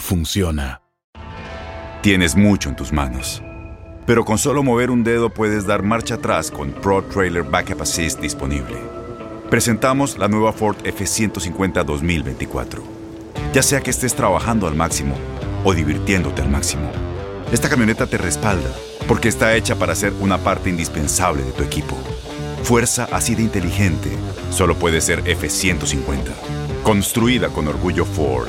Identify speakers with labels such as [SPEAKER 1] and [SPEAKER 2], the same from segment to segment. [SPEAKER 1] funciona.
[SPEAKER 2] Tienes mucho en tus manos, pero con solo mover un dedo puedes dar marcha atrás con Pro Trailer Backup Assist disponible. Presentamos la nueva Ford F150 2024. Ya sea que estés trabajando al máximo o divirtiéndote al máximo, esta camioneta te respalda porque está hecha para ser una parte indispensable de tu equipo. Fuerza así de inteligente solo puede ser F150. Construida con orgullo Ford.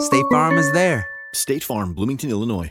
[SPEAKER 3] State Farm is there.
[SPEAKER 4] State Farm, Bloomington, Illinois.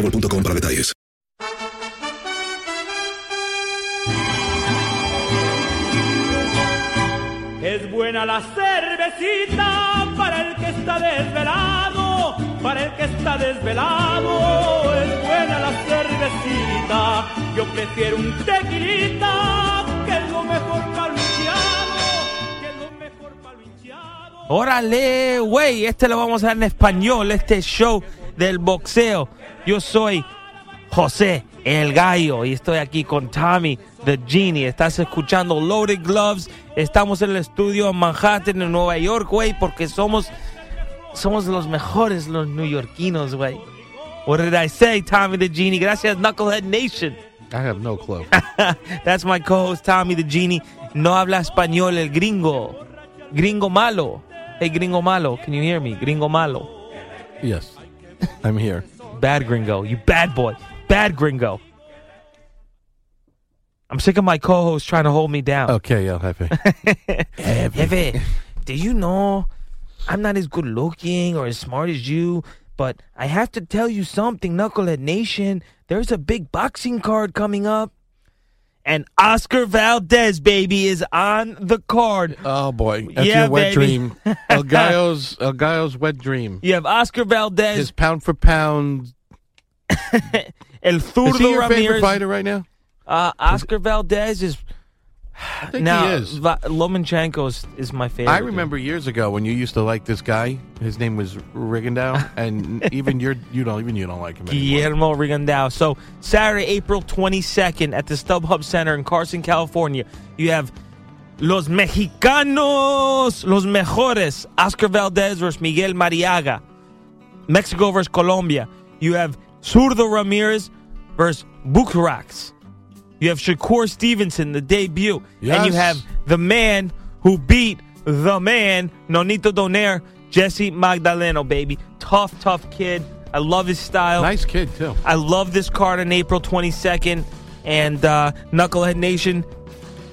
[SPEAKER 5] mobile.com para detalles.
[SPEAKER 6] Es buena la cervecita para el que está desvelado, para el que está desvelado. Es buena la cervecita, yo prefiero un tequilita que es lo mejor para que es lo mejor para
[SPEAKER 7] Órale, güey, este lo vamos a dar en español, este show del boxeo. Yo soy José el Gallo y estoy aquí con Tommy the Genie. Estás escuchando Loaded Gloves. Estamos en el estudio en Manhattan, en Nueva York, güey, porque somos somos los mejores los neoyorquinos, güey. What did I say, Tommy the Genie? Gracias, Knucklehead Nation.
[SPEAKER 8] I have no clue.
[SPEAKER 7] That's my co-host Tommy the Genie. No habla español el gringo. Gringo malo. Hey, gringo malo. Can you hear me? Gringo malo.
[SPEAKER 8] Yes, I'm here.
[SPEAKER 7] Bad gringo. You bad boy. Bad gringo. I'm sick of my co-host trying to hold me down.
[SPEAKER 8] Okay, El Jefe.
[SPEAKER 7] Jefe, do you know I'm not as good looking or as smart as you? But I have to tell you something, Knucklehead Nation. There's a big boxing card coming up. And Oscar Valdez, baby, is on the card.
[SPEAKER 8] Oh boy, that's
[SPEAKER 7] Yeah,
[SPEAKER 8] your wet
[SPEAKER 7] baby.
[SPEAKER 8] dream. El Gallo's El Gallo's wet dream.
[SPEAKER 7] You have Oscar Valdez,
[SPEAKER 8] His pound for pound.
[SPEAKER 7] El
[SPEAKER 8] Is he
[SPEAKER 7] Zurdo
[SPEAKER 8] your favorite
[SPEAKER 7] Ramirez.
[SPEAKER 8] fighter right now?
[SPEAKER 7] Uh, Oscar Valdez is
[SPEAKER 8] I think
[SPEAKER 7] now.
[SPEAKER 8] he is.
[SPEAKER 7] Va- Lomachenko is, is my favorite.
[SPEAKER 8] I remember years ago when you used to like this guy. His name was Rigondeaux, and even you're you don't even you don't like him anymore.
[SPEAKER 7] Guillermo Rigondeaux. So Saturday, April 22nd at the StubHub Center in Carson, California, you have Los Mexicanos, Los Mejores, Oscar Valdez versus Miguel Mariaga, Mexico versus Colombia. You have Zurdo Ramirez versus Bucarax. You have Shakur Stevenson, the debut. And you
[SPEAKER 8] Yes.
[SPEAKER 7] have the man who beat the man, Nonito Donaire, Jesse Magdaleno, baby. Tough, tough kid. I love his style.
[SPEAKER 8] Nice kid too.
[SPEAKER 7] I love this card on April 22nd. And uh, Knucklehead Nation,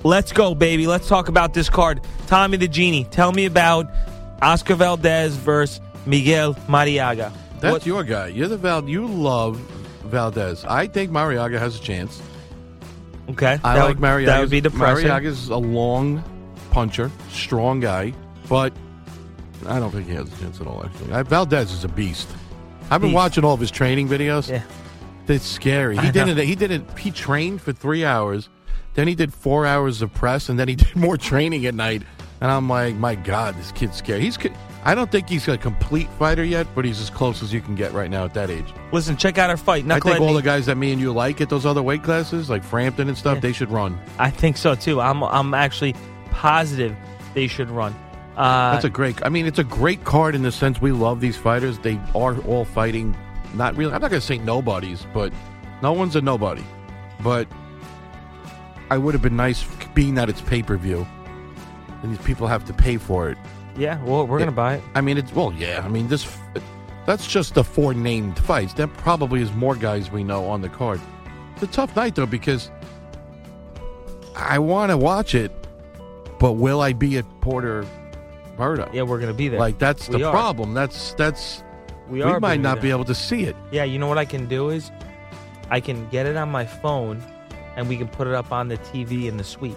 [SPEAKER 7] let's go, baby. Let's talk about this card. Tommy the Genie, tell me about Oscar Valdez versus Miguel Mariaga.
[SPEAKER 8] That's
[SPEAKER 7] What-
[SPEAKER 8] your guy. You're the Val. You love Valdez. I think Mariaga has a chance.
[SPEAKER 7] okay.
[SPEAKER 8] I
[SPEAKER 7] that
[SPEAKER 8] like
[SPEAKER 7] would-
[SPEAKER 8] Mariaga.
[SPEAKER 7] That would be depressing.
[SPEAKER 8] Mariaga's a long puncher, strong guy, but I don't think he has a chance at all. Actually, I, Valdez is a beast. I've been
[SPEAKER 7] Beast.
[SPEAKER 8] watching all of his training videos.
[SPEAKER 7] Yeah.
[SPEAKER 8] It's scary. He
[SPEAKER 7] I
[SPEAKER 8] did
[SPEAKER 7] know.
[SPEAKER 8] it. He did it. He trained for three hours, then he did four hours of press, and then he did more training at night. And I'm like, my God, this kid's scary. He's. c- I don't think he's a complete fighter yet, but he's as close as you can get right now at that age.
[SPEAKER 7] Listen, check out her fight.
[SPEAKER 8] I think
[SPEAKER 7] Knucklehead
[SPEAKER 8] all
[SPEAKER 7] Nate-
[SPEAKER 8] the guys that me and you like at those other weight classes, like Frampton and stuff,
[SPEAKER 7] Yeah.
[SPEAKER 8] they should run.
[SPEAKER 7] I think so too. I'm I'm actually positive they should run. Uh,
[SPEAKER 8] That's a great. I mean, it's a great card in the sense we love these fighters. They are all fighting. Not really. I'm not going to say nobodies, but no one's a nobody. But I would have been nice being that it's pay per view, and these people have to pay for it.
[SPEAKER 7] yeah. Well, we're gonna buy it.
[SPEAKER 8] I mean, it's well, yeah. I mean, this. That's just the four named fights. There probably is more guys we know on the card. It's a tough night though because I want to watch it, but will I be at Porter Burdo?
[SPEAKER 7] Yeah, we're gonna be there.
[SPEAKER 8] Like that's
[SPEAKER 7] We
[SPEAKER 8] the
[SPEAKER 7] are.
[SPEAKER 8] problem. That's that's
[SPEAKER 7] We
[SPEAKER 8] we,
[SPEAKER 7] are.
[SPEAKER 8] might
[SPEAKER 7] gonna
[SPEAKER 8] not be
[SPEAKER 7] there.
[SPEAKER 8] able to see it.
[SPEAKER 7] Yeah. You know what I can do is, I can get it on my phone, and we can put it up on the TV in the suite.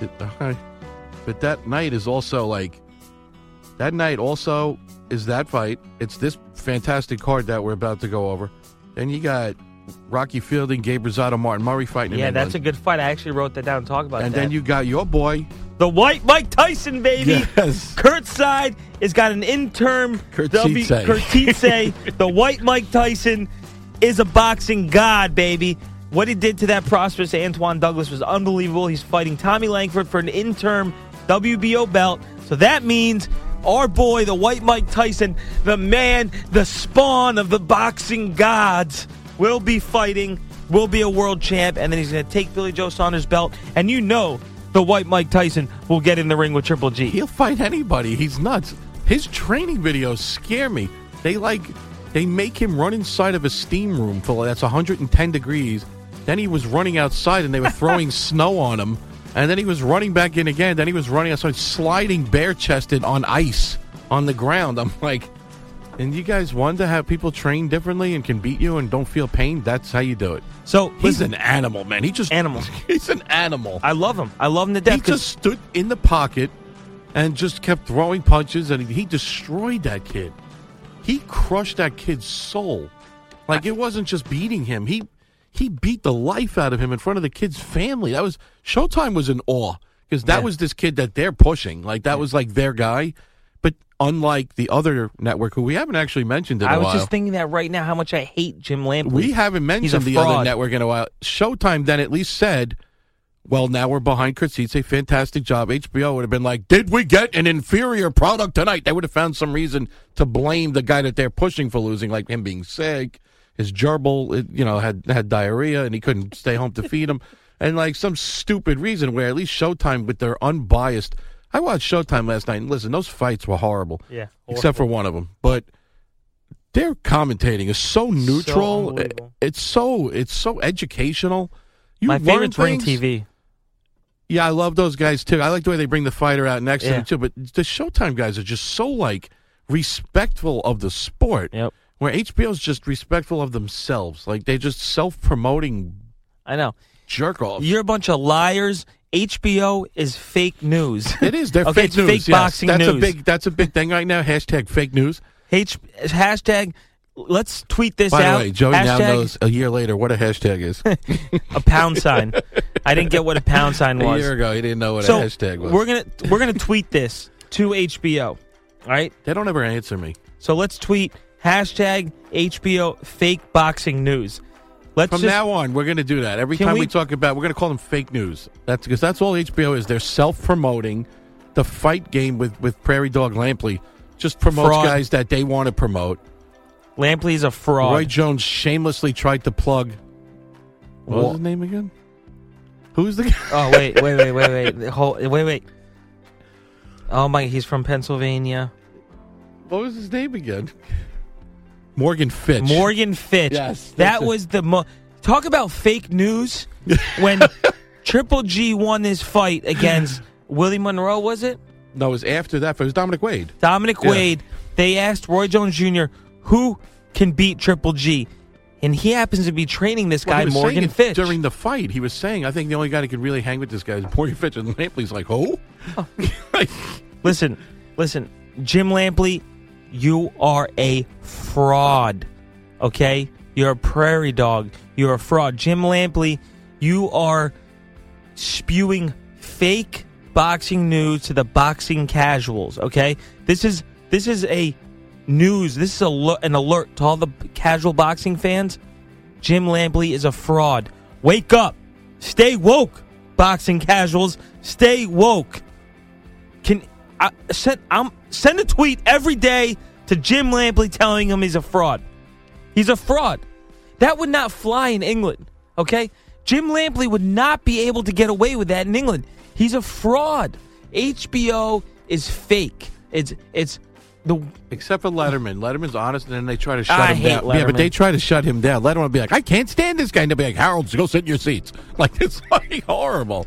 [SPEAKER 8] It- okay. But that night is also like that night also is that fight. It's this fantastic card that we're about to go over. Then you got Rocky Fielding, Gabe Rosado, Martin Murray fighting. in
[SPEAKER 7] yeah, that's a
[SPEAKER 8] England.
[SPEAKER 7] good fight. I actually wrote that down. and Talk about
[SPEAKER 8] And
[SPEAKER 7] that.
[SPEAKER 8] then you got your boy.
[SPEAKER 7] the white Mike Tyson baby.
[SPEAKER 8] Yes.
[SPEAKER 7] Kurt Side has got an interim
[SPEAKER 8] Kurt
[SPEAKER 7] W-
[SPEAKER 8] Tietze.
[SPEAKER 7] Kurt Tietze. the white Mike Tyson is a boxing god, baby. What he did to that prospect Antoine Douglas was unbelievable. He's fighting Tommy Langford for an interim WBO belt. So that means our boy, the white Mike Tyson, the man, the spawn of the boxing gods, will be fighting, will be a world champ, and then he's going to take Billy Joe Saunders' belt. And you know the white Mike Tyson will get in the ring with Triple G.
[SPEAKER 8] He'll fight anybody. He's nuts. His training videos scare me. They like they make him run inside of a steam room full that's 110 degrees. Then he was running outside and they were throwing snow on him. And then he was running back in again. Then he was running outside, sliding bare chested on ice on the ground. I'm like, and you guys want to have people train differently and can beat you and don't feel pain? That's how you do it.
[SPEAKER 7] So
[SPEAKER 8] He's
[SPEAKER 7] listen,
[SPEAKER 8] an animal, man. He just
[SPEAKER 7] Animal.
[SPEAKER 8] He's an animal.
[SPEAKER 7] I love him. I love him to death.
[SPEAKER 8] He
[SPEAKER 7] 'cause-
[SPEAKER 8] just stood in the pocket and just kept throwing punches, and he destroyed that kid. He crushed that kid's soul. Like it wasn't just beating him; he he beat the life out of him in front of the kid's family. That was Showtime was in awe because that
[SPEAKER 7] Yeah.
[SPEAKER 8] was this kid that they're pushing. Like that was like their guy, but unlike the other network who we haven't actually mentioned in a
[SPEAKER 7] I was
[SPEAKER 8] while.
[SPEAKER 7] just thinking that right now how much I hate Jim Lampley.
[SPEAKER 8] We haven't
[SPEAKER 7] He's a
[SPEAKER 8] mentioned the
[SPEAKER 7] fraud.
[SPEAKER 8] other network in a while. Showtime then at least said, well, now we're behind It's a Fantastic job. HBO would have been like, did we get an inferior product tonight? They would have found some reason to blame the guy that they're pushing for losing, like him being sick, his gerbil, it, you know, had, had diarrhea and he couldn't stay home to feed him. And like some stupid reason where at least Showtime with their unbiased. I watched Showtime last night and listen, those fights were horrible.
[SPEAKER 7] Yeah,
[SPEAKER 8] Except for
[SPEAKER 7] horrible.
[SPEAKER 8] one of them. But their commentating is so neutral.
[SPEAKER 7] unbelievable.
[SPEAKER 8] it's so it's so educational. You
[SPEAKER 7] My
[SPEAKER 8] learn
[SPEAKER 7] favorite's Ring
[SPEAKER 8] things.
[SPEAKER 7] TV.
[SPEAKER 8] Yeah, I love those guys too. I like the way they bring the fighter out next to
[SPEAKER 7] Yeah.
[SPEAKER 8] them too. But the Showtime guys are just so like respectful of the sport.
[SPEAKER 7] Yep.
[SPEAKER 8] Where HBO's just respectful of themselves. Like they're just self promoting
[SPEAKER 7] I know.
[SPEAKER 8] jerk off.
[SPEAKER 7] You're a bunch of liars. HBO is fake news.
[SPEAKER 8] It is. They're
[SPEAKER 7] okay,
[SPEAKER 8] fake
[SPEAKER 7] it's
[SPEAKER 8] news.
[SPEAKER 7] Fake
[SPEAKER 8] yes.
[SPEAKER 7] boxing
[SPEAKER 8] that's
[SPEAKER 7] news.
[SPEAKER 8] a big that's a big thing right now. Hashtag fake news.
[SPEAKER 7] H- hashtag. Let's tweet this
[SPEAKER 8] By
[SPEAKER 7] out.
[SPEAKER 8] the way, Joey now
[SPEAKER 7] hashtag
[SPEAKER 8] knows a year later what a hashtag is.
[SPEAKER 7] a pound sign. I didn't get what a pound sign
[SPEAKER 8] a
[SPEAKER 7] was.
[SPEAKER 8] year ago, he didn't know what
[SPEAKER 7] so
[SPEAKER 8] a hashtag was.
[SPEAKER 7] we're gonna we're gonna tweet this to HBO. All right.
[SPEAKER 8] they don't ever answer me.
[SPEAKER 7] So let's tweet hashtag HBO fake boxing news. Let's
[SPEAKER 8] From
[SPEAKER 7] just,
[SPEAKER 8] now on, we're going to do that. Every
[SPEAKER 7] Can
[SPEAKER 8] time we,
[SPEAKER 7] we-
[SPEAKER 8] talk about, we're going to call them fake news. That's because that's all HBO is. They're self-promoting the fight game with with Prairie Dog Lampley. Just promotes
[SPEAKER 7] Fraud.
[SPEAKER 8] guys that they want to promote.
[SPEAKER 7] Lampley's a fraud.
[SPEAKER 8] Roy Jones shamelessly tried to plug. What was
[SPEAKER 7] Wha-
[SPEAKER 8] his name again? Who's the guy?
[SPEAKER 7] Oh wait, wait, wait, wait, wait, The whole- wait, wait. Oh my, he's from Pennsylvania.
[SPEAKER 8] What was his name again? Morgan Fitch.
[SPEAKER 7] Morgan Fitch.
[SPEAKER 8] Yes, that's
[SPEAKER 7] that
[SPEAKER 8] it.
[SPEAKER 7] was the mo- talk about fake news when Triple G won his fight against Willie Monroe. Was it
[SPEAKER 8] No, it was after that. It was Dominic Wade.
[SPEAKER 7] Dominic
[SPEAKER 8] Yeah.
[SPEAKER 7] Wade? They asked Roy Jones Jr. who can beat Triple G, and he happens to be training this
[SPEAKER 8] Well, he
[SPEAKER 7] guy
[SPEAKER 8] was saying
[SPEAKER 7] Morgan
[SPEAKER 8] it
[SPEAKER 7] Fitch.
[SPEAKER 8] During the fight, he was saying, I think the only guy that could really hang with this guy is Morgan Fitch. And Lampley's like, oh? Like,
[SPEAKER 7] listen, listen, Jim Lampley, you are a fraud. Okay? You're a prairie dog. You're a fraud. Jim Lampley, you are spewing fake boxing news to the boxing casuals, okay? This is This is a news. This is a, lo- an alert to all the casual boxing fans. Jim Lampley is a fraud. Wake up. Stay woke, boxing casuals. Stay woke. Can I send I'm send a tweet every day to Jim Lampley telling him he's a fraud. He's a fraud. That would not fly in England, okay? Jim Lampley would not be able to get away with that in England. He's a fraud. HBO is fake. It's it's the
[SPEAKER 8] Except for Letterman. Letterman's honest, and then they try to shut
[SPEAKER 7] I
[SPEAKER 8] him
[SPEAKER 7] hate
[SPEAKER 8] down. Yeah, but
[SPEAKER 7] Letterman.
[SPEAKER 8] they try to shut him down. Letterman would be like, I can't stand this guy. And they'll be like, Harold, go sit in your seats. Like, it's like horrible.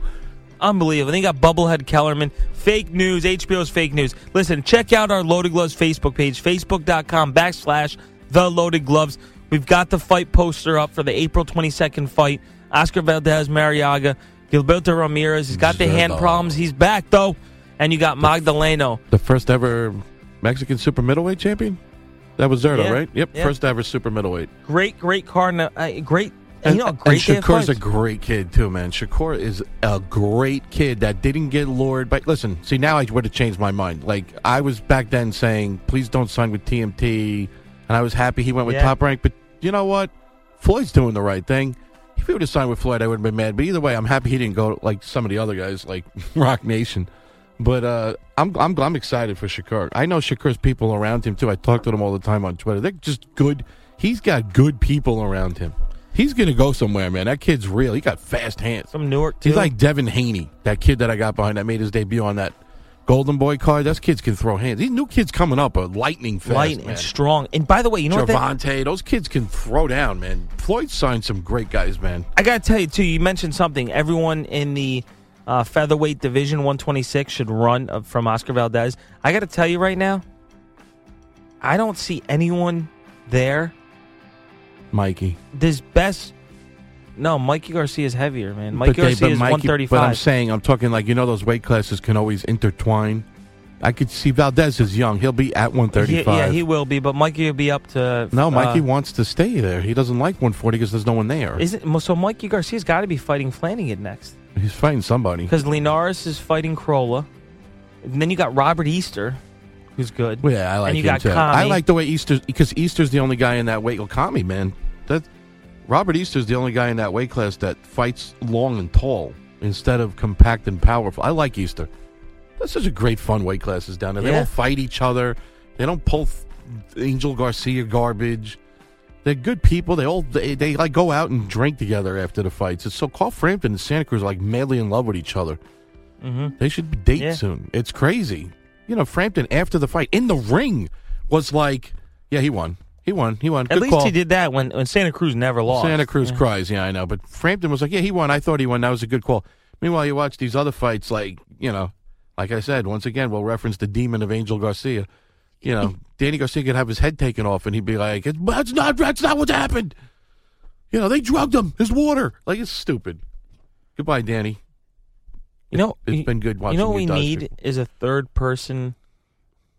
[SPEAKER 7] Unbelievable. They got Bubblehead Kellerman. Fake news. HBO's fake news. Listen, check out our Loaded Gloves Facebook page, facebook.com backslash The Loaded Gloves. We've got the fight poster up for the April 22nd fight. Oscar Valdez, Mariaga, Gilberto Ramirez. He's got the hand
[SPEAKER 8] Zero.
[SPEAKER 7] problems. He's back, though. And you got Magdaleno.
[SPEAKER 8] The first ever Mexican super middleweight champion? That was Zerto,
[SPEAKER 7] Yeah.
[SPEAKER 8] right? Yep,
[SPEAKER 7] Yeah.
[SPEAKER 8] first ever super middleweight.
[SPEAKER 7] Great, great card. and, Uh, great, you know, a
[SPEAKER 8] and
[SPEAKER 7] great day of
[SPEAKER 8] Shakur's a
[SPEAKER 7] fights.
[SPEAKER 8] great kid too, man. Shakur is a great kid that didn't get lured. But listen, see now I would have changed my mind. Like I was back then saying, please don't sign with TMT, and I was happy he went with
[SPEAKER 7] Yeah.
[SPEAKER 8] Top Rank. But you know what? Floyd's doing the right thing. If he would have signed with Floyd, I would have been mad. But either way, I'm happy he didn't go like some of the other guys, like Rock Nation. But uh, I'm, I'm I'm excited for Shakur. I know Shakur's people around him too. I talk to them all the time on Twitter. They're just good. He's got good people around him. He's gonna go somewhere, man. That kid's real. He got fast hands.
[SPEAKER 7] From Newark, too.
[SPEAKER 8] He's like Devin Haney, that kid that I got behind that made his debut on that Golden Boy card. Those kids can throw hands. These new kids coming up are lightning fast.
[SPEAKER 7] light
[SPEAKER 8] man.
[SPEAKER 7] and strong. And by the way, you know what? that-
[SPEAKER 8] Javante, those kids can throw down, man. Floyd signed some great guys, man.
[SPEAKER 7] I gotta tell you too. You mentioned something. Everyone in the uh, featherweight division 126 should run uh, from Oscar Valdez. I gotta tell you right now, I don't see anyone there.
[SPEAKER 8] Mikey.
[SPEAKER 7] This best. No, Mikey Garcia is heavier, man.
[SPEAKER 8] But
[SPEAKER 7] Mikey
[SPEAKER 8] they-
[SPEAKER 7] Garcia
[SPEAKER 8] but
[SPEAKER 7] is
[SPEAKER 8] Mikey-
[SPEAKER 7] 135.
[SPEAKER 8] But I'm saying, I'm talking like you know those weight classes can always intertwine. I could see Valdez is young. He'll be at
[SPEAKER 7] He-
[SPEAKER 8] 135.
[SPEAKER 7] yeah, he will be, but Mikey will be up to
[SPEAKER 8] no, Mikey
[SPEAKER 7] uh,
[SPEAKER 8] wants to stay there. He doesn't like 140 because there's no one there.
[SPEAKER 7] Isn't so? Mikey Garcia's got to be fighting Flanagan next
[SPEAKER 8] He's fighting somebody.
[SPEAKER 7] because Linares is fighting Corolla, and then you got Robert Easter, who's good.
[SPEAKER 8] Yeah, I like
[SPEAKER 7] and you
[SPEAKER 8] him
[SPEAKER 7] got
[SPEAKER 8] too. I
[SPEAKER 7] Connie.
[SPEAKER 8] like the way Easter because Easter's the only guy in that weight. Well, Kami, man, that Robert Easter's the only guy in that weight class that fights long and tall instead of compact and powerful. I like Easter. That's such a great fun weight classes down there. They
[SPEAKER 7] Yeah.
[SPEAKER 8] all fight each other. They don't pull th- Angel Garcia garbage. They're good people. They all they, they like go out and drink together after the fights. It's so Carl Frampton and Santa Cruz are like madly in love with each other. They should date
[SPEAKER 7] Yeah.
[SPEAKER 8] soon. It's crazy. You know, Frampton after the fight in the ring was like, "Yeah, he won. He won. He won."
[SPEAKER 7] At
[SPEAKER 8] Good
[SPEAKER 7] least
[SPEAKER 8] call.
[SPEAKER 7] he did that when, when Santa Cruz never lost.
[SPEAKER 8] Santa Cruz cries. Yeah, I know. But Frampton was like, "Yeah, he won. I thought he won. That was a good call." Meanwhile, you watch these other fights, like you know, like I said, once again, we'll reference the demon of Angel Garcia. You know, Danny Garcia could have his head taken off, and he'd be like, "It's- "That's not. That's not what's happened." You know, they drugged him. His water. Like it's stupid. Goodbye, Danny.
[SPEAKER 7] You know,
[SPEAKER 8] It's
[SPEAKER 7] you-
[SPEAKER 8] been good watching
[SPEAKER 7] You
[SPEAKER 8] you
[SPEAKER 7] know what we
[SPEAKER 8] dodge
[SPEAKER 7] need
[SPEAKER 8] people.
[SPEAKER 7] is a third person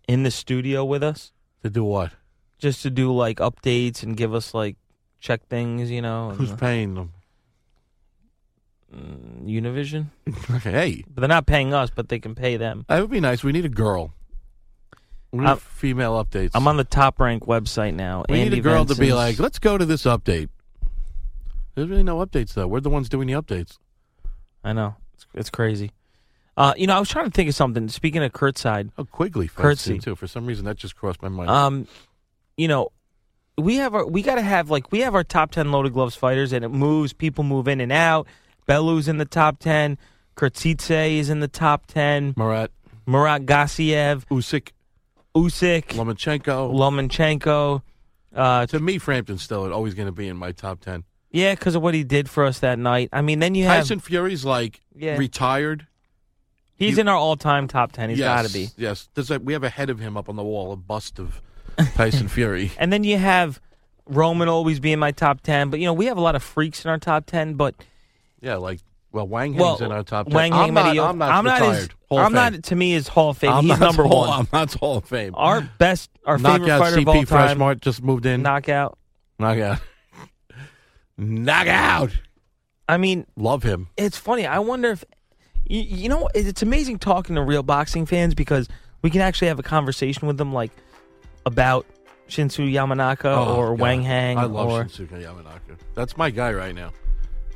[SPEAKER 7] in the studio with us
[SPEAKER 8] To do what?
[SPEAKER 7] just to do like updates and give us like check things, you know. and,
[SPEAKER 8] Who's paying them?
[SPEAKER 7] uh, Univision?
[SPEAKER 8] Okay, hey,
[SPEAKER 7] But they're not paying us, but they can pay them.
[SPEAKER 8] that would be nice. We need a girl. We need
[SPEAKER 7] I'm-
[SPEAKER 8] female updates.
[SPEAKER 7] I'm on the top rank website now.
[SPEAKER 8] We
[SPEAKER 7] Andy
[SPEAKER 8] need a girl to be
[SPEAKER 7] Benson's-
[SPEAKER 8] like, let's go to this update. There's really no updates though. We're the ones doing the updates.
[SPEAKER 7] I know. It's, it's crazy. Uh, you know, I was trying to think of something. Speaking of Kurt's side,
[SPEAKER 8] Oh, Quigley fenced
[SPEAKER 7] Curtsy.
[SPEAKER 8] in too. For some reason, that just crossed my mind.
[SPEAKER 7] um, you know, we have our we got to have like we have our top ten loaded gloves fighters, and it moves. People move in and out. Bellu's in the top ten. Kurtzice is in the top ten.
[SPEAKER 8] Marat,
[SPEAKER 7] Murat Gassiev,
[SPEAKER 8] Usyk,
[SPEAKER 7] Usyk,
[SPEAKER 8] Lomachenko.
[SPEAKER 7] Lomachenko. Uh,
[SPEAKER 8] to me, Frampton's still always going to be in my top ten.
[SPEAKER 7] yeah, because of what he did for us that night. I mean, then you have
[SPEAKER 8] Tyson Fury's like
[SPEAKER 7] Yeah.
[SPEAKER 8] retired.
[SPEAKER 7] he's in our all-time top ten. He's
[SPEAKER 8] yes,
[SPEAKER 7] got to be.
[SPEAKER 8] Yes, There's a, we have a head of him up on the wall, a bust of Tyson Fury.
[SPEAKER 7] And then you have Roman always be in my top ten. But you know, we have a lot of freaks in our top ten. But
[SPEAKER 8] Yeah, like well, Wang Hang's
[SPEAKER 7] well,
[SPEAKER 8] in our top. 10.
[SPEAKER 7] Wang
[SPEAKER 8] I'm,
[SPEAKER 7] Hang
[SPEAKER 8] not,
[SPEAKER 7] Medeo-
[SPEAKER 8] I'm not.
[SPEAKER 7] as-
[SPEAKER 8] retired. Hall of
[SPEAKER 7] I'm
[SPEAKER 8] Fame.
[SPEAKER 7] not. To me, is Hall of Fame.
[SPEAKER 8] I'm
[SPEAKER 7] he's
[SPEAKER 8] not
[SPEAKER 7] number
[SPEAKER 8] Hall-
[SPEAKER 7] one.
[SPEAKER 8] I'm not Hall of Fame.
[SPEAKER 7] Our best, our favorite
[SPEAKER 8] knockout
[SPEAKER 7] fighter
[SPEAKER 8] CP
[SPEAKER 7] of all time.
[SPEAKER 8] Freshmart just moved in.
[SPEAKER 7] Knockout.
[SPEAKER 8] knockout. knockout.
[SPEAKER 7] I mean,
[SPEAKER 8] Love him.
[SPEAKER 7] it's funny. I wonder if you, you know. It's amazing talking to real boxing fans because we can actually have a conversation with them, like about Shinsu Yamanaka
[SPEAKER 8] Oh,
[SPEAKER 7] or
[SPEAKER 8] God.
[SPEAKER 7] Wang Hang.
[SPEAKER 8] I love
[SPEAKER 7] or,
[SPEAKER 8] Shinsuke Yamanaka. That's my guy right now.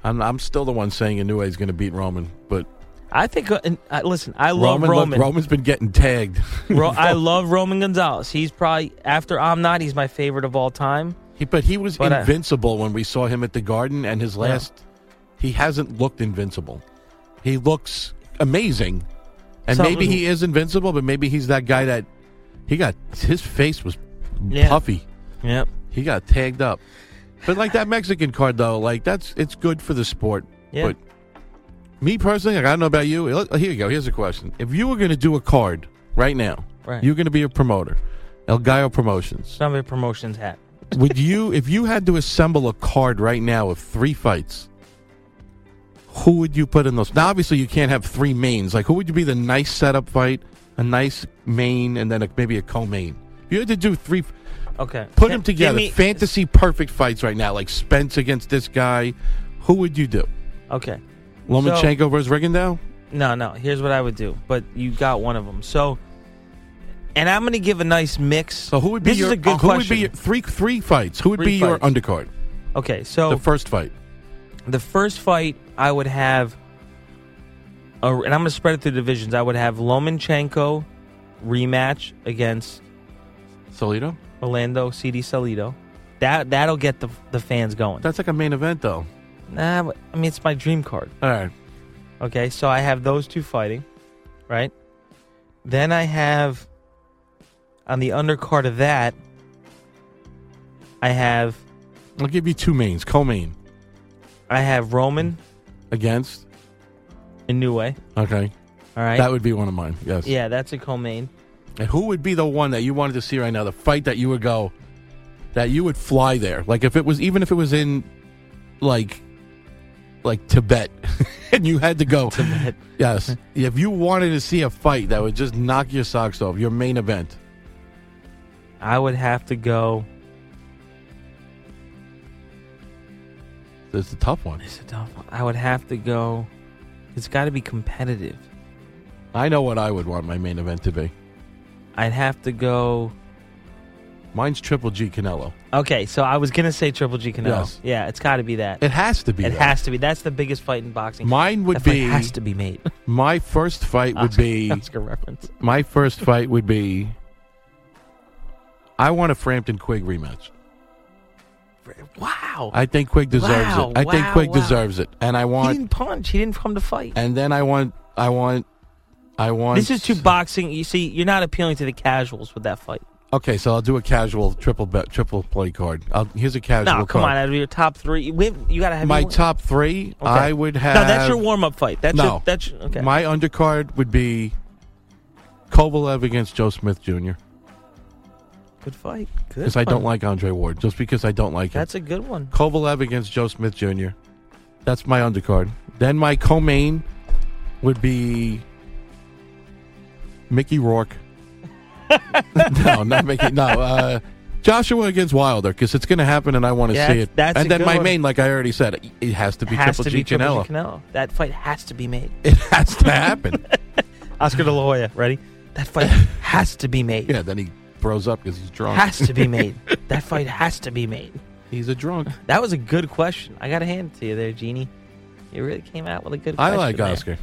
[SPEAKER 8] I'm, I'm still the one saying Inoue is going to beat Roman, but
[SPEAKER 7] I think. Uh, and, uh, listen, I love
[SPEAKER 8] Roman,
[SPEAKER 7] Roman.
[SPEAKER 8] has been getting tagged.
[SPEAKER 7] Ro- I love Roman Gonzalez. He's probably after I'm not. He's my favorite of all time.
[SPEAKER 8] He- but he was
[SPEAKER 7] But, uh,
[SPEAKER 8] invincible when we saw him at the Garden, and his last, he hasn't looked invincible. He looks amazing, and maybe
[SPEAKER 7] Something-
[SPEAKER 8] he is invincible, but maybe he's that guy that he got. His face was
[SPEAKER 7] Yeah.
[SPEAKER 8] puffy.
[SPEAKER 7] Yep.
[SPEAKER 8] He got tagged up. But like that Mexican card though, like that's it's good for the sport.
[SPEAKER 7] Yeah.
[SPEAKER 8] But me personally, like, I don't know about you. Here you go. Here's a question: If you were going to do a card right now,
[SPEAKER 7] Right.
[SPEAKER 8] you're going to be a promoter, El Gallo Promotions.
[SPEAKER 7] Some of the promotions hat.
[SPEAKER 8] Would you, if you had to assemble a card right now of three fights, who would you put in those? Now, obviously, you can't have three mains. Like, who would you be the nice setup fight, a nice main, and then a, maybe a co-main? If you had to do three.
[SPEAKER 7] Okay.
[SPEAKER 8] Put
[SPEAKER 7] Gi-
[SPEAKER 8] them
[SPEAKER 7] give
[SPEAKER 8] together.
[SPEAKER 7] me-
[SPEAKER 8] Fantasy perfect fights right now, like Spence against this guy. Who would you do?
[SPEAKER 7] Okay.
[SPEAKER 8] Lomachenko versus Rigondeaux?
[SPEAKER 7] No, no. Here's what I would do, but you got one of them. So, and I'm going to give a nice mix.
[SPEAKER 8] So who would be
[SPEAKER 7] this
[SPEAKER 8] your
[SPEAKER 7] is a good
[SPEAKER 8] uh, who would
[SPEAKER 7] question.
[SPEAKER 8] be your, three three fights? Who would
[SPEAKER 7] Three
[SPEAKER 8] be your
[SPEAKER 7] fights.
[SPEAKER 8] undercard?
[SPEAKER 7] okay, so
[SPEAKER 8] The first fight.
[SPEAKER 7] the first fight I would have, a, and I'm going to spread it through divisions. I would have Lomachenko rematch against
[SPEAKER 8] Solito?
[SPEAKER 7] Orlando CD Salido. That that'll get the the fans going.
[SPEAKER 8] That's like a main event though.
[SPEAKER 7] Nah, but- I mean it's my dream card.
[SPEAKER 8] All right.
[SPEAKER 7] Okay, so I have those two fighting, right? Then I have on the undercard of that, I have
[SPEAKER 8] I'll give you two mains. Co main
[SPEAKER 7] I have Roman
[SPEAKER 8] against.
[SPEAKER 7] Inoue.
[SPEAKER 8] Okay.
[SPEAKER 7] All right,
[SPEAKER 8] That would be one of mine. Yes.
[SPEAKER 7] yeah, that's a co-main.
[SPEAKER 8] And who would be the one that you wanted to see right now? The fight that you would go, that you would fly there. Like if it was, even if it was in, like, like Tibet, and you had to go. Tibet. Yes. If you wanted to see a fight that would just knock your socks off, your main event.
[SPEAKER 7] I would have to go.
[SPEAKER 8] That's a tough one.
[SPEAKER 7] This is a tough one. I would have to go. It's got to be competitive.
[SPEAKER 8] I know what I would want my main event to be.
[SPEAKER 7] I'd have to go.
[SPEAKER 8] Mine's Triple G Canelo.
[SPEAKER 7] Okay, so I was gonna say Triple G Canelo.
[SPEAKER 8] Yes.
[SPEAKER 7] Yeah, it's got to be that.
[SPEAKER 8] It has to be.
[SPEAKER 7] It
[SPEAKER 8] that.
[SPEAKER 7] has to be. That's the biggest fight in boxing.
[SPEAKER 8] Mine would
[SPEAKER 7] That fight
[SPEAKER 8] be-
[SPEAKER 7] has to be made.
[SPEAKER 8] My first fight would
[SPEAKER 7] Oscar-
[SPEAKER 8] be.
[SPEAKER 7] Oscar reference.
[SPEAKER 8] My first fight would be. I want a Frampton Quig rematch.
[SPEAKER 7] Wow.
[SPEAKER 8] I think Quig deserves
[SPEAKER 7] Wow,
[SPEAKER 8] it. I think
[SPEAKER 7] wow,
[SPEAKER 8] Quig
[SPEAKER 7] wow.
[SPEAKER 8] deserves it, and I
[SPEAKER 7] he
[SPEAKER 8] want,
[SPEAKER 7] didn't punch. He didn't come to fight.
[SPEAKER 8] and then I want, I want, I want.
[SPEAKER 7] This is too boxing. You see, you're not appealing to the casuals with that fight.
[SPEAKER 8] Okay, so I'll do a casual triple bet, triple play card. I'll, here's a casual.
[SPEAKER 7] No, come on.
[SPEAKER 8] card.
[SPEAKER 7] Out of your top three, We have- you got to have
[SPEAKER 8] My
[SPEAKER 7] your-
[SPEAKER 8] top three,
[SPEAKER 7] Okay.
[SPEAKER 8] I would have.
[SPEAKER 7] No, that's your warm up fight. That's
[SPEAKER 8] no,
[SPEAKER 7] your, that's your, okay.
[SPEAKER 8] my undercard would be Kovalev against Joe Smith Jr.
[SPEAKER 7] good fight. Good.
[SPEAKER 8] Because I don't
[SPEAKER 7] one.
[SPEAKER 8] like Andre Ward, just because I don't like him.
[SPEAKER 7] That's a good one.
[SPEAKER 8] Kovalev against Joe Smith Jr. That's my undercard. Then my co-main would be Mickey Rourke. no, not Mickey. No, uh, Joshua against Wilder because it's going to happen, and I want to
[SPEAKER 7] Yeah,
[SPEAKER 8] see it.
[SPEAKER 7] that's
[SPEAKER 8] and
[SPEAKER 7] a
[SPEAKER 8] then
[SPEAKER 7] good
[SPEAKER 8] my
[SPEAKER 7] one.
[SPEAKER 8] main, like I already said, it has to be
[SPEAKER 7] has
[SPEAKER 8] Triple
[SPEAKER 7] to
[SPEAKER 8] G
[SPEAKER 7] be Triple
[SPEAKER 8] Canelo.
[SPEAKER 7] G Canelo. That fight has to be made.
[SPEAKER 8] It has to happen.
[SPEAKER 7] Oscar De La Hoya, ready? That fight has to be made.
[SPEAKER 8] yeah. Then he throws up because he's drunk.
[SPEAKER 7] Has to be made. that fight has to be made.
[SPEAKER 8] he's a drunk.
[SPEAKER 7] That was a good question. I got to hand it to you there, Genie. You really came out with a good question.
[SPEAKER 8] I like
[SPEAKER 7] there.
[SPEAKER 8] Oscar.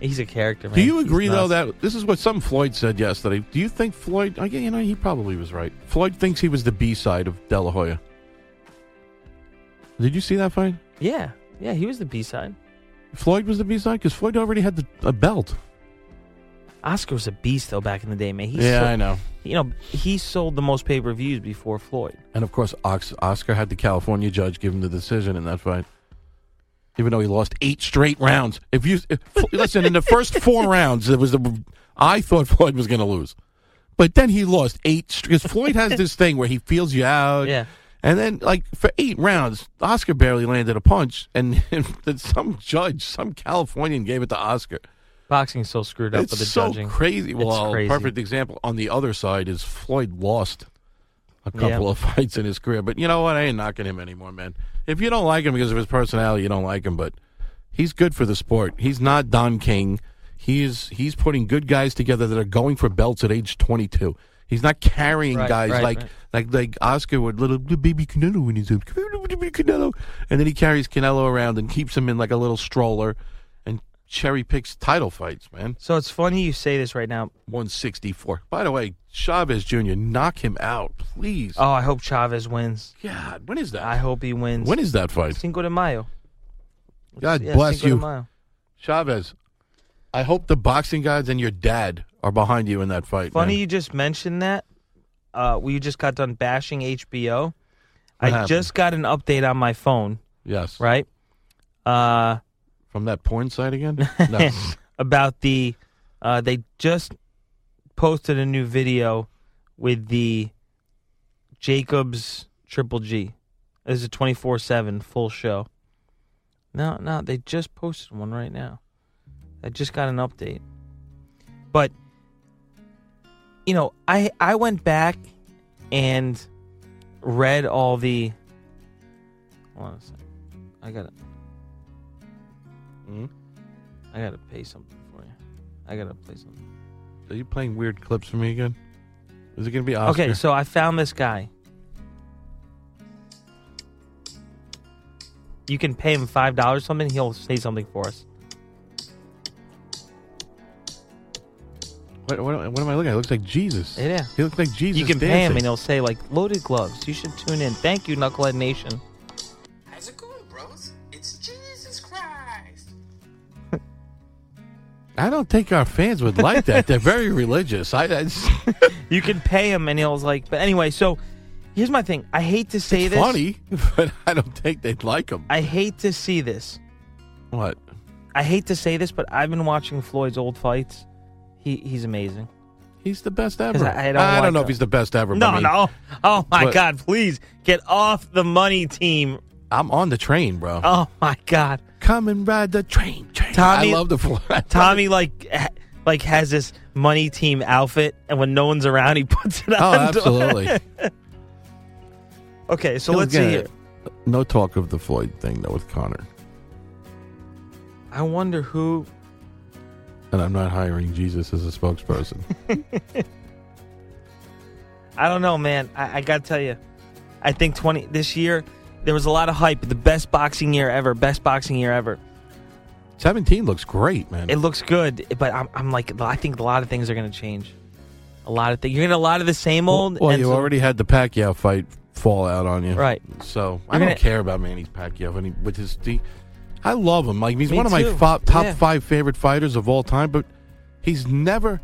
[SPEAKER 7] He's a character, man.
[SPEAKER 8] Do you
[SPEAKER 7] He's
[SPEAKER 8] agree though
[SPEAKER 7] nuts.
[SPEAKER 8] that this is what some Floyd said yesterday? Do you think Floyd? I gue- you know he probably was right. Floyd thinks he was the B side of De La Hoya. Did you see that fight?
[SPEAKER 7] Yeah. Yeah, he was the B side.
[SPEAKER 8] Floyd was the B side because Floyd already had the, a belt.
[SPEAKER 7] Oscar was a beast though back in the day, man. He
[SPEAKER 8] yeah,
[SPEAKER 7] sold,
[SPEAKER 8] I know.
[SPEAKER 7] You know, he sold the most pay per views before Floyd.
[SPEAKER 8] And of course, Ox- Oscar had the California judge give him the decision in that fight, even though he lost eight straight rounds. If you if, listen, in the first four rounds, it was the I thought Floyd was going to lose, but then he lost eight because Floyd has this thing where he feels you out.
[SPEAKER 7] Yeah.
[SPEAKER 8] And then, like for eight rounds, Oscar barely landed a punch, and, and some judge, some Californian, gave it to Oscar.
[SPEAKER 7] Boxing's so screwed up
[SPEAKER 8] It's
[SPEAKER 7] with the
[SPEAKER 8] so
[SPEAKER 7] judging.
[SPEAKER 8] crazy.
[SPEAKER 7] It's
[SPEAKER 8] Well,
[SPEAKER 7] crazy.
[SPEAKER 8] perfect example on the other side is Floyd lost a couple
[SPEAKER 7] Yeah.
[SPEAKER 8] of fights in his career, but you know what? I ain't knocking him anymore, man. If you don't like him because of his personality, you don't like him. But he's good for the sport. He's not Don King. He's he's putting good guys together that are going for belts at age 22. He's not carrying
[SPEAKER 7] Right,
[SPEAKER 8] guys
[SPEAKER 7] right,
[SPEAKER 8] like
[SPEAKER 7] right.
[SPEAKER 8] like like Oscar would little little baby Canelo when he's in Come here, little baby Canelo, and then he carries Canelo around and keeps him in like a little stroller, and cherry picks title fights, man.
[SPEAKER 7] So it's funny you say this right now.
[SPEAKER 8] 164. By the way, Chavez Jr. knock him out, please.
[SPEAKER 7] Oh, I hope Chavez wins.
[SPEAKER 8] God, when is that?
[SPEAKER 7] I hope he wins.
[SPEAKER 8] when is that fight?
[SPEAKER 7] Cinco de Mayo?
[SPEAKER 8] God
[SPEAKER 7] Yeah,
[SPEAKER 8] bless
[SPEAKER 7] Cinco de
[SPEAKER 8] you.
[SPEAKER 7] Mayo.
[SPEAKER 8] Chavez, I hope the boxing gods and your dad are behind you in that fight.
[SPEAKER 7] Funny
[SPEAKER 8] man.
[SPEAKER 7] you just mentioned that. Uh, we just got done bashing HBO. I
[SPEAKER 8] happened?
[SPEAKER 7] just got an update on my phone,
[SPEAKER 8] Yes.
[SPEAKER 7] right? Uh,
[SPEAKER 8] From that porn site again? No.
[SPEAKER 7] about the uh, they just posted a new video with the Jacobs Triple G. It's a twenty four seven full show. No, no, they just posted one right now. I just got an update, but you know, I I went back and read all the. Hold on a second. I got it.
[SPEAKER 8] Mhm.
[SPEAKER 7] I gotta pay something for you. I gotta play something.
[SPEAKER 8] are you playing weird clips for me again? Is it going to be Oscar?
[SPEAKER 7] Okay, so I found this guy. You can pay him five dollars something. He'll say something for us.
[SPEAKER 8] What, what, what am I looking at? It looks like Jesus.
[SPEAKER 7] Yeah.
[SPEAKER 8] He looks like Jesus.
[SPEAKER 7] you can pay him,
[SPEAKER 8] dancing.
[SPEAKER 7] and he'll say like "Loaded Gloves." You should tune in. Thank you, Knucklehead Nation.
[SPEAKER 9] How's it going, bros? It's Jesus Christ.
[SPEAKER 8] I don't think our fans would like that. They're very religious. I, I it's,
[SPEAKER 7] You can pay him, and he'll like. But anyway, so here's my thing. I hate to say
[SPEAKER 8] it's
[SPEAKER 7] this.
[SPEAKER 8] funny, but I don't think they'd like him.
[SPEAKER 7] I hate to see this.
[SPEAKER 8] What?
[SPEAKER 7] I hate to say this, but I've been watching Floyd's old fights. He he's amazing.
[SPEAKER 8] He's the best ever.
[SPEAKER 7] 'Cause I- I don't like
[SPEAKER 8] know
[SPEAKER 7] him.
[SPEAKER 8] if he's the best ever. but
[SPEAKER 7] No,
[SPEAKER 8] I mean,
[SPEAKER 7] no. Oh my
[SPEAKER 8] But-
[SPEAKER 7] God! Please get off the money team.
[SPEAKER 8] I'm on the train, bro.
[SPEAKER 7] Oh my God!
[SPEAKER 8] Come and ride the train. train.
[SPEAKER 7] Tommy-
[SPEAKER 8] I love the floor.
[SPEAKER 7] Tommy like ha- like has this money team outfit, and when no one's around, he puts it
[SPEAKER 8] Oh,
[SPEAKER 7] on.
[SPEAKER 8] absolutely.
[SPEAKER 7] okay, so
[SPEAKER 8] He'll
[SPEAKER 7] let's
[SPEAKER 8] get
[SPEAKER 7] see
[SPEAKER 8] it.
[SPEAKER 7] here.
[SPEAKER 8] No talk of the Floyd thing though with Connor,
[SPEAKER 7] I wonder who.
[SPEAKER 8] and I'm not hiring Jesus as a spokesperson.
[SPEAKER 7] I don't know, man. I, I gotta tell you, I think twenty this year there was a lot of hype. The best boxing year ever. Best boxing year ever.
[SPEAKER 8] Seventeen looks great, man.
[SPEAKER 7] It looks good, but I'm, I'm like I think a lot of things are gonna change. A lot of things. You're gonna get a lot of the same
[SPEAKER 8] well,
[SPEAKER 7] old.
[SPEAKER 8] well,
[SPEAKER 7] and
[SPEAKER 8] you
[SPEAKER 7] some-
[SPEAKER 8] already had the Pacquiao fight fall out on you,
[SPEAKER 7] Right.
[SPEAKER 8] So I
[SPEAKER 7] You're
[SPEAKER 8] don't
[SPEAKER 7] gonna-
[SPEAKER 8] care about Manny Pacquiao and he, with his. He, I love him. Like he's
[SPEAKER 7] Me
[SPEAKER 8] one of my
[SPEAKER 7] too.
[SPEAKER 8] fo- top
[SPEAKER 7] Yeah.
[SPEAKER 8] five favorite fighters of all time, but he's never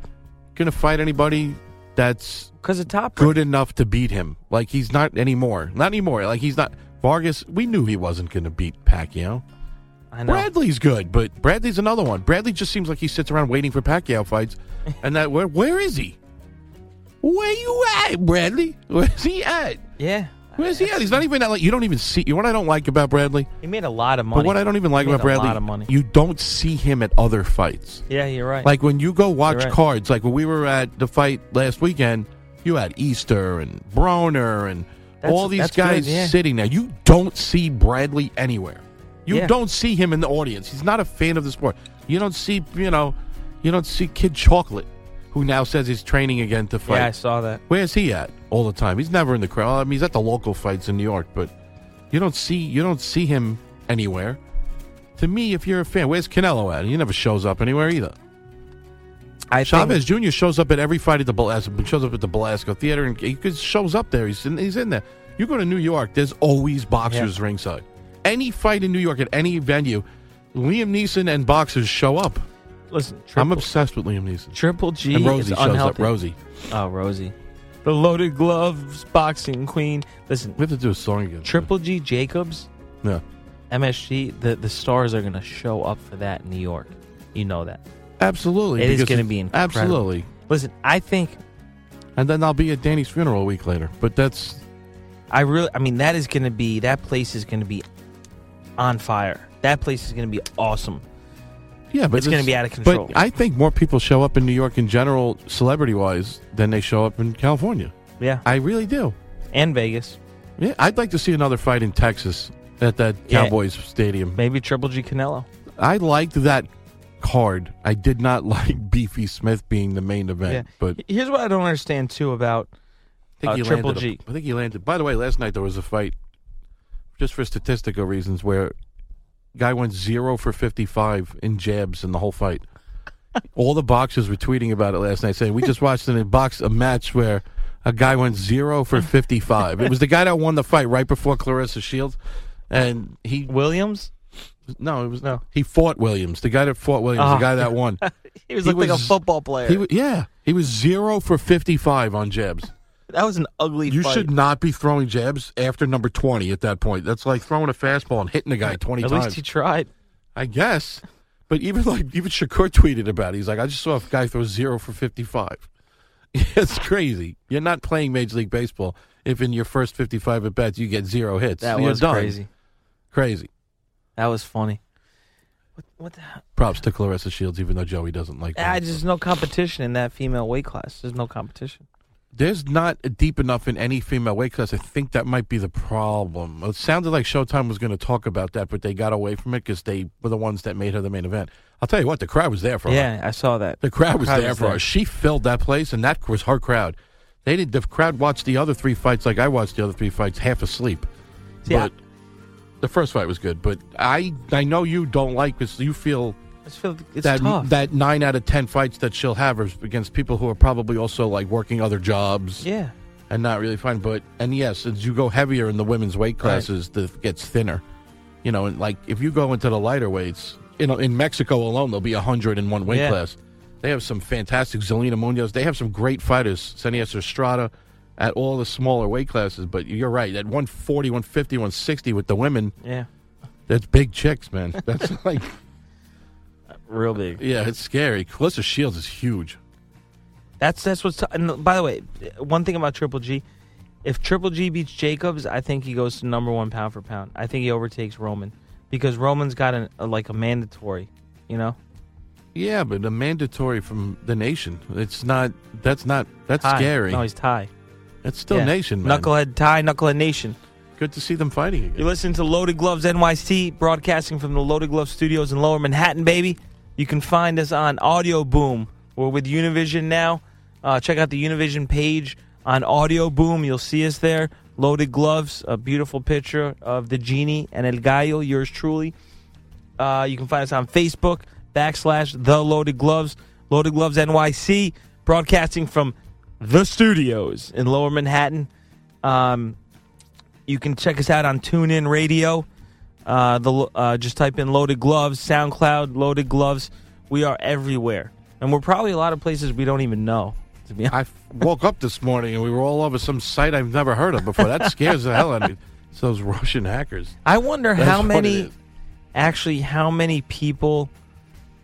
[SPEAKER 8] gonna fight anybody that's
[SPEAKER 7] because of top. Rank.
[SPEAKER 8] good enough to beat him. Like he's not anymore. Not anymore. Like he's not Vargas. We knew he wasn't going to beat Pacquiao.
[SPEAKER 7] I know.
[SPEAKER 8] Bradley's good, but Bradley's another one. Bradley just seems like he sits around waiting for Pacquiao fights, and that where where is he? Where you at, Bradley? Where's he at?
[SPEAKER 7] Yeah.
[SPEAKER 8] Where's he at? He's not even at, like you don't even see. You know what I don't like about Bradley?
[SPEAKER 7] He made a lot of money.
[SPEAKER 8] But what I don't even like
[SPEAKER 7] He made
[SPEAKER 8] about Bradley,
[SPEAKER 7] A lot of money.
[SPEAKER 8] you don't see him at other fights.
[SPEAKER 7] yeah, you're right.
[SPEAKER 8] Like when you go watch
[SPEAKER 7] right.
[SPEAKER 8] cards, like when we were at the fight last weekend, you had Easter and Broner and
[SPEAKER 7] That's-
[SPEAKER 8] all these
[SPEAKER 7] that's
[SPEAKER 8] guys
[SPEAKER 7] good, yeah.
[SPEAKER 8] sitting there. You don't see Bradley anywhere. You
[SPEAKER 7] Yeah.
[SPEAKER 8] don't see him in the audience. He's not a fan of the sport. You don't see, you know, you don't see Kid Chocolate, who now says he's training again to fight.
[SPEAKER 7] yeah, I saw that.
[SPEAKER 8] Where's he at all the time? He's never in the crowd. I mean, he's at the local fights in New York, but you don't see you don't see him anywhere. To me, if you're a fan, where's Canelo at? He never shows up anywhere either.
[SPEAKER 7] I
[SPEAKER 8] Chavez Jr. shows up at every fight at the Belasco, shows up at the Belasco Theater, and he just shows up there. He's in, he's in there. You go to New York, there's always boxers ringside. Any fight in New York at any venue, Liam Neeson and boxers show up.
[SPEAKER 7] Think, listen,
[SPEAKER 8] I'm
[SPEAKER 7] triple,
[SPEAKER 8] obsessed with Liam Neeson.
[SPEAKER 7] Triple G
[SPEAKER 8] and Rosie
[SPEAKER 7] is
[SPEAKER 8] shows
[SPEAKER 7] unhealthy.
[SPEAKER 8] up. Rosie,
[SPEAKER 7] Oh, Rosie, the loaded gloves boxing queen. Listen,
[SPEAKER 8] we have to do a song again.
[SPEAKER 7] Triple G Jacobs,
[SPEAKER 8] Yeah.
[SPEAKER 7] MSG. The the stars are gonna show up for that in New York. You know that.
[SPEAKER 8] Absolutely.
[SPEAKER 7] It is
[SPEAKER 8] because
[SPEAKER 7] gonna be incredible.
[SPEAKER 8] Absolutely.
[SPEAKER 7] Listen, I think
[SPEAKER 8] And then I'll be at Danny's funeral a week later. But that's
[SPEAKER 7] I really. I mean, that is gonna be that place is gonna be on fire. That place is gonna be awesome.
[SPEAKER 8] yeah, but
[SPEAKER 7] It's gonna
[SPEAKER 8] this-
[SPEAKER 7] be out of control.
[SPEAKER 8] But I think more people show up in New York in general, celebrity wise, than they show up in California.
[SPEAKER 7] Yeah,
[SPEAKER 8] I really do.
[SPEAKER 7] and Vegas.
[SPEAKER 8] Yeah, I'd like to see another fight in Texas at that
[SPEAKER 7] Yeah.
[SPEAKER 8] Cowboys stadium.
[SPEAKER 7] Maybe Triple G Canelo.
[SPEAKER 8] I liked that card. I did not like Beefy Smith being the main event, but
[SPEAKER 7] Here's what I don't understand too about
[SPEAKER 8] I think
[SPEAKER 7] uh,
[SPEAKER 8] he
[SPEAKER 7] Triple
[SPEAKER 8] landed
[SPEAKER 7] G.
[SPEAKER 8] a- I think he landed. By the way, last night there was a fight, just for statistical reasons, where guy went zero for fifty-five in jabs in the whole fight. All the boxers were tweeting about it last night, saying we just watched in a box a match where a guy went zero for fifty-five. it was the guy that won the fight right before Clarissa Shields, and he
[SPEAKER 7] Williams.
[SPEAKER 8] No, it was no. He fought Williams, the guy that fought Williams,
[SPEAKER 7] Oh.
[SPEAKER 8] the guy that won.
[SPEAKER 7] He was, like a football player.
[SPEAKER 8] He, wa- yeah, he was zero for fifty-five on jabs.
[SPEAKER 7] that was an ugly.
[SPEAKER 8] You
[SPEAKER 7] fight.
[SPEAKER 8] should not be throwing jabs after number 20 at that point. That's like throwing a fastball and hitting a guy 20
[SPEAKER 7] At
[SPEAKER 8] times.
[SPEAKER 7] least he tried.
[SPEAKER 8] I guess. But even like even Shakur tweeted about it. He's like, I just saw a guy throw zero for 55. it's crazy. You're not playing Major League Baseball if in your first 55 at bats you get zero hits.
[SPEAKER 7] That
[SPEAKER 8] You're
[SPEAKER 7] was
[SPEAKER 8] done.
[SPEAKER 7] crazy.
[SPEAKER 8] Crazy.
[SPEAKER 7] That was funny. What? What the?
[SPEAKER 8] Props to Clarissa Shields, even though Joey doesn't like that.
[SPEAKER 7] Ah, there's no competition in that female weight class. There's no competition.
[SPEAKER 8] There's not deep enough in any female weight class. I think that might be the problem. It sounded like Showtime was going to talk about that, but they got away from it because they were the ones that made her the main event. I'll tell you what, the crowd was there for her.
[SPEAKER 7] Yeah, I saw that.
[SPEAKER 8] The crowd was there for her. She filled that place, and that was her crowd. They did. The crowd watched the other three fights like I watched the other three fights, half asleep.
[SPEAKER 7] See, I-
[SPEAKER 8] But the first fight was good. But I, I know you don't like this. You feel
[SPEAKER 7] I just feel it's
[SPEAKER 8] that
[SPEAKER 7] tough.
[SPEAKER 8] that nine out of ten fights that she'll have is against people who are probably also like working other jobs
[SPEAKER 7] yeah.
[SPEAKER 8] and not really fine. But and yes, as you go heavier in the women's weight
[SPEAKER 7] Right.
[SPEAKER 8] classes, the gets thinner. You know, and like if you go into the lighter weights, you know, in Mexico alone, there'll be a hundred in one weight
[SPEAKER 7] Yeah.
[SPEAKER 8] class. They have some fantastic Zelina Munoz. They have some great fighters, Senias Estrada, at all the smaller weight classes. But you're right, at 140, 150, 160 with the women,
[SPEAKER 7] Yeah.
[SPEAKER 8] that's big chicks, man. That's like,
[SPEAKER 7] Real big.
[SPEAKER 8] yeah, it's scary. Calissa Shields is huge.
[SPEAKER 7] That's that's what's. T- and by the way, one thing about Triple G, if Triple G beats Jacobs, I think he goes to number one pound for pound. I think he overtakes Roman because Roman's got an, a, like a mandatory, you know.
[SPEAKER 8] Yeah, but a mandatory from the nation. It's not. That's not. That's
[SPEAKER 7] Tie.
[SPEAKER 8] scary.
[SPEAKER 7] No, he's Thai.
[SPEAKER 8] It's still
[SPEAKER 7] Yeah.
[SPEAKER 8] Nation, man.
[SPEAKER 7] Knucklehead Thai, Knucklehead Nation.
[SPEAKER 8] Good to see them fighting again.
[SPEAKER 7] You listen to Loaded Gloves NYC, broadcasting from the Loaded Gloves Studios in Lower Manhattan, baby. You can find us on Audio Boom. We're with Univision now. Uh, check out the Univision page on Audio Boom. You'll see us there. Loaded Gloves, a beautiful picture of the genie and El Gallo, yours truly. Uh, you can find us on Facebook, backslash The Loaded Gloves, Loaded Gloves NYC, broadcasting from the studios in Lower Manhattan. Um, you can check us out on TuneIn Radio. Uh, the lo- uh, just type in "Loaded Gloves," SoundCloud, "Loaded Gloves." We are everywhere, and we're probably a lot of places we don't even know. To be honest,
[SPEAKER 8] I f- woke up this morning and we were all over some site I've never heard of before. That scares the hell out of me. It's those Russian hackers.
[SPEAKER 7] I wonder
[SPEAKER 8] That's
[SPEAKER 7] how
[SPEAKER 8] what it
[SPEAKER 7] many,
[SPEAKER 8] is.
[SPEAKER 7] actually, how many people.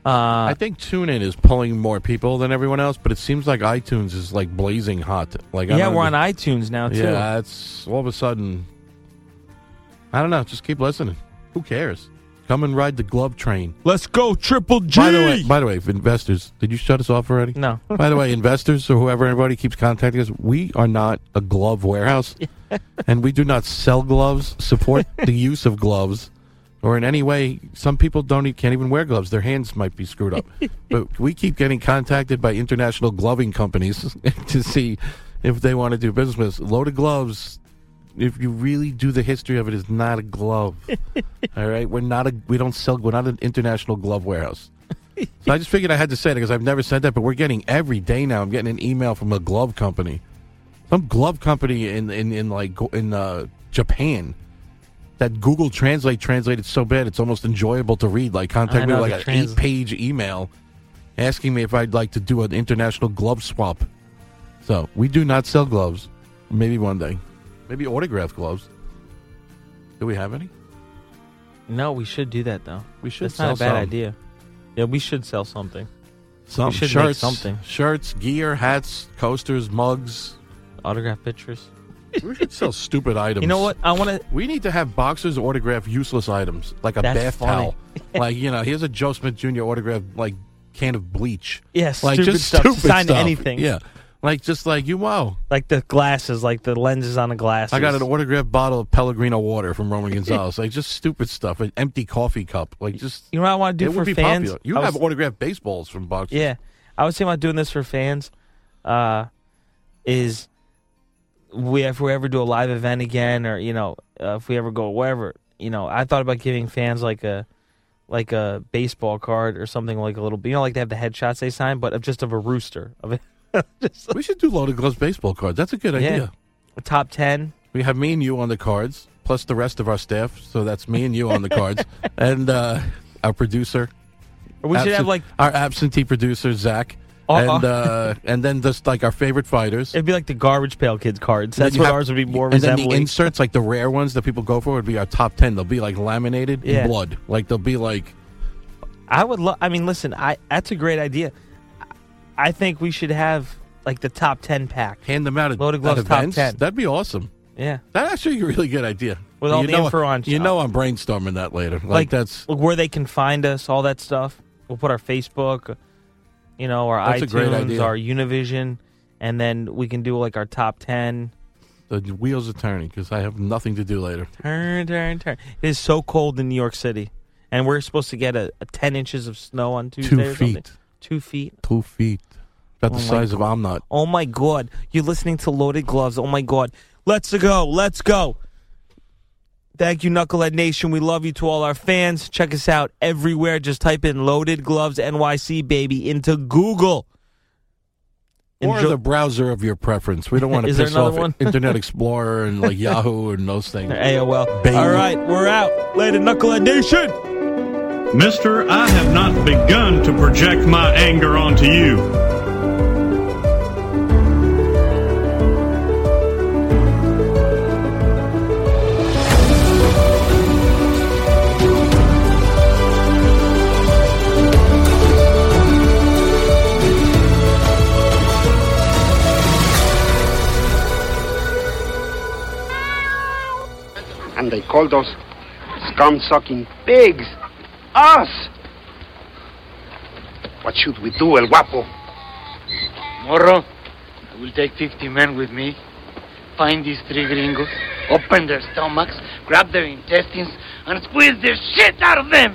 [SPEAKER 7] Uh,
[SPEAKER 8] I think TuneIn is pulling more people than everyone else, but it seems like iTunes is like blazing hot. Like I
[SPEAKER 7] yeah,
[SPEAKER 8] don't
[SPEAKER 7] we're on
[SPEAKER 8] under-
[SPEAKER 7] iTunes now too.
[SPEAKER 8] Yeah, it's all of a sudden. I don't know. Just keep listening. Who cares? Come and ride the glove train.
[SPEAKER 7] Let's go, Triple G.
[SPEAKER 8] By the way, by the way, if investors, did you shut us off already?
[SPEAKER 7] no,
[SPEAKER 8] By the way, investors or whoever anybody keeps contacting us, we are not a glove warehouse, and we do not sell gloves, support the use of gloves, or in any way. Some people don't e- can't even wear gloves; their hands might be screwed up. but we keep getting contacted by international gloving companies to see if they want to do business with us. Loaded gloves. If you really do the history of it, is not a glove. All right, we're not a we don't sell. We're not an international glove warehouse. So I just figured I had to say it because I've never said that, but we're getting every day now. I'm getting an email from a glove company, some glove company in in, in like go- in uh, Japan that Google Translate translated so bad it's almost enjoyable to read. Like
[SPEAKER 7] I
[SPEAKER 8] contact me
[SPEAKER 7] know,
[SPEAKER 8] with
[SPEAKER 7] the
[SPEAKER 8] like an
[SPEAKER 7] trans-
[SPEAKER 8] eight page email asking me if I'd like to do an international glove swap. So we do not sell gloves. Maybe one day, maybe autograph gloves. Do we have any?
[SPEAKER 7] no, we should do that though.
[SPEAKER 8] We should
[SPEAKER 7] That's not a
[SPEAKER 8] sell
[SPEAKER 7] bad
[SPEAKER 8] some.
[SPEAKER 7] idea. Yeah, we should sell something.
[SPEAKER 8] Some
[SPEAKER 7] We should make
[SPEAKER 8] shirts,
[SPEAKER 7] something.
[SPEAKER 8] shirts, gear, hats, coasters, mugs.
[SPEAKER 7] Autograph pictures.
[SPEAKER 8] We should sell stupid items.
[SPEAKER 7] You know what? I want to.
[SPEAKER 8] We need to have boxers autograph useless items like a
[SPEAKER 7] That's
[SPEAKER 8] bath
[SPEAKER 7] funny.
[SPEAKER 8] towel. like you know, here's a Joe Smith Jr. autograph like can of bleach.
[SPEAKER 7] Yes,
[SPEAKER 8] like
[SPEAKER 7] stupid
[SPEAKER 8] just
[SPEAKER 7] stuff.
[SPEAKER 8] stupid
[SPEAKER 7] Sign
[SPEAKER 8] stuff.
[SPEAKER 7] anything.
[SPEAKER 8] Yeah, Like just like you wow.
[SPEAKER 7] Like the glasses, like the lenses on the glasses.
[SPEAKER 8] I got an autographed bottle of Pellegrino water from Roman Gonzalez. like just stupid stuff. An empty coffee cup. Like just
[SPEAKER 7] You know what I want to do
[SPEAKER 8] it
[SPEAKER 7] for
[SPEAKER 8] would be
[SPEAKER 7] fans?
[SPEAKER 8] popular. You
[SPEAKER 7] I
[SPEAKER 8] have
[SPEAKER 7] was-
[SPEAKER 8] autographed baseballs from boxers.
[SPEAKER 7] Yeah, I was thinking about doing this for fans. Uh, is we if we ever do a live event again, or you know, uh, if we ever go wherever, you know, I thought about giving fans like a like a baseball card or something like a little, you know, like they have the headshots they sign, but of just of a rooster of a,
[SPEAKER 8] we should do loaded gloves baseball cards. That's a good
[SPEAKER 7] Yeah.
[SPEAKER 8] idea.
[SPEAKER 7] a top ten.
[SPEAKER 8] We have me and you on the cards, plus the rest of our staff. So that's me and you on the cards, and uh, our producer.
[SPEAKER 7] Or we should have, like-
[SPEAKER 8] our absentee producer Zach,
[SPEAKER 7] Uh-uh.
[SPEAKER 8] and uh, and then just like our favorite fighters.
[SPEAKER 7] It'd be like the garbage pail kids cards.
[SPEAKER 8] And then
[SPEAKER 7] That's
[SPEAKER 8] you
[SPEAKER 7] what
[SPEAKER 8] have-
[SPEAKER 7] ours would be more
[SPEAKER 8] And then the
[SPEAKER 7] resembling.
[SPEAKER 8] inserts, like the rare ones that people go for, would be our top ten. They'll be like laminated in
[SPEAKER 7] Yeah.
[SPEAKER 8] blood. Like they'll be like
[SPEAKER 7] I would love. I mean, listen, I that's a great idea. I I think we should have like the top ten pack.
[SPEAKER 8] hand them out at
[SPEAKER 7] Loaded
[SPEAKER 8] at
[SPEAKER 7] gloves top
[SPEAKER 8] events.
[SPEAKER 7] 10.
[SPEAKER 8] That'd be awesome.
[SPEAKER 7] Yeah.
[SPEAKER 8] That's actually a really good idea.
[SPEAKER 7] With all
[SPEAKER 8] you
[SPEAKER 7] the
[SPEAKER 8] know,
[SPEAKER 7] info on-
[SPEAKER 8] you know, I'm brainstorming that later. Like,
[SPEAKER 7] Like-
[SPEAKER 8] that's
[SPEAKER 7] Look where they can find us, all that stuff. We'll put our Facebook, you know, our
[SPEAKER 8] That's a
[SPEAKER 7] iTunes,
[SPEAKER 8] great idea.
[SPEAKER 7] our Univision, and then we can do like our top ten.
[SPEAKER 8] the wheels are turning because I have nothing to do later.
[SPEAKER 7] Turn, turn, turn. It is so cold in New York City, and we're supposed to get a, a ten inches of snow on Tuesday. or something.
[SPEAKER 8] feet.
[SPEAKER 7] Two feet.
[SPEAKER 8] Two feet, about the
[SPEAKER 7] Oh my
[SPEAKER 8] size of I'm not.
[SPEAKER 7] Oh my god, you're listening to Loaded Gloves. Oh my god, let's go, let's go. Thank you, Knucklehead Nation. We love you to all our fans. Check us out everywhere. Just type in Loaded Gloves NYC, baby, into Google.
[SPEAKER 8] Or
[SPEAKER 7] Enjoy-
[SPEAKER 8] the browser of your preference. We don't want to
[SPEAKER 7] Is there
[SPEAKER 8] piss
[SPEAKER 7] another
[SPEAKER 8] off
[SPEAKER 7] one?
[SPEAKER 8] Internet Explorer and like Yahoo and those things.
[SPEAKER 7] AOL.
[SPEAKER 8] Baby.
[SPEAKER 7] All right, we're out. Later, Knucklehead Nation.
[SPEAKER 10] Mister, I have not begun to project my anger onto you.
[SPEAKER 11] And they call those scum sucking pigs us. What should we do, El Guapo?
[SPEAKER 12] Morro, I will take 50 men with me. Find these three gringos, open their stomachs, grab their intestines, and squeeze the shit out of them!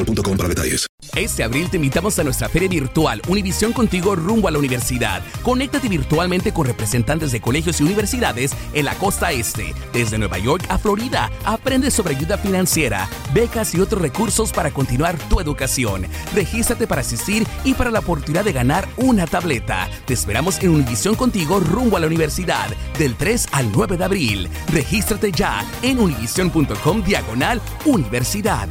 [SPEAKER 5] para detalles.
[SPEAKER 13] Este abril te invitamos a nuestra feria virtual Univisión Contigo rumbo a la universidad. Conéctate virtualmente con representantes de colegios y universidades en la costa este, desde Nueva York a Florida. Aprende sobre ayuda financiera, becas y otros recursos para continuar tu educación. Regístrate para asistir y para la oportunidad de ganar una tableta. Te esperamos en Univisión Contigo rumbo a la universidad del 3 al 9 de abril. Regístrate ya en univision.com diagonal universidad.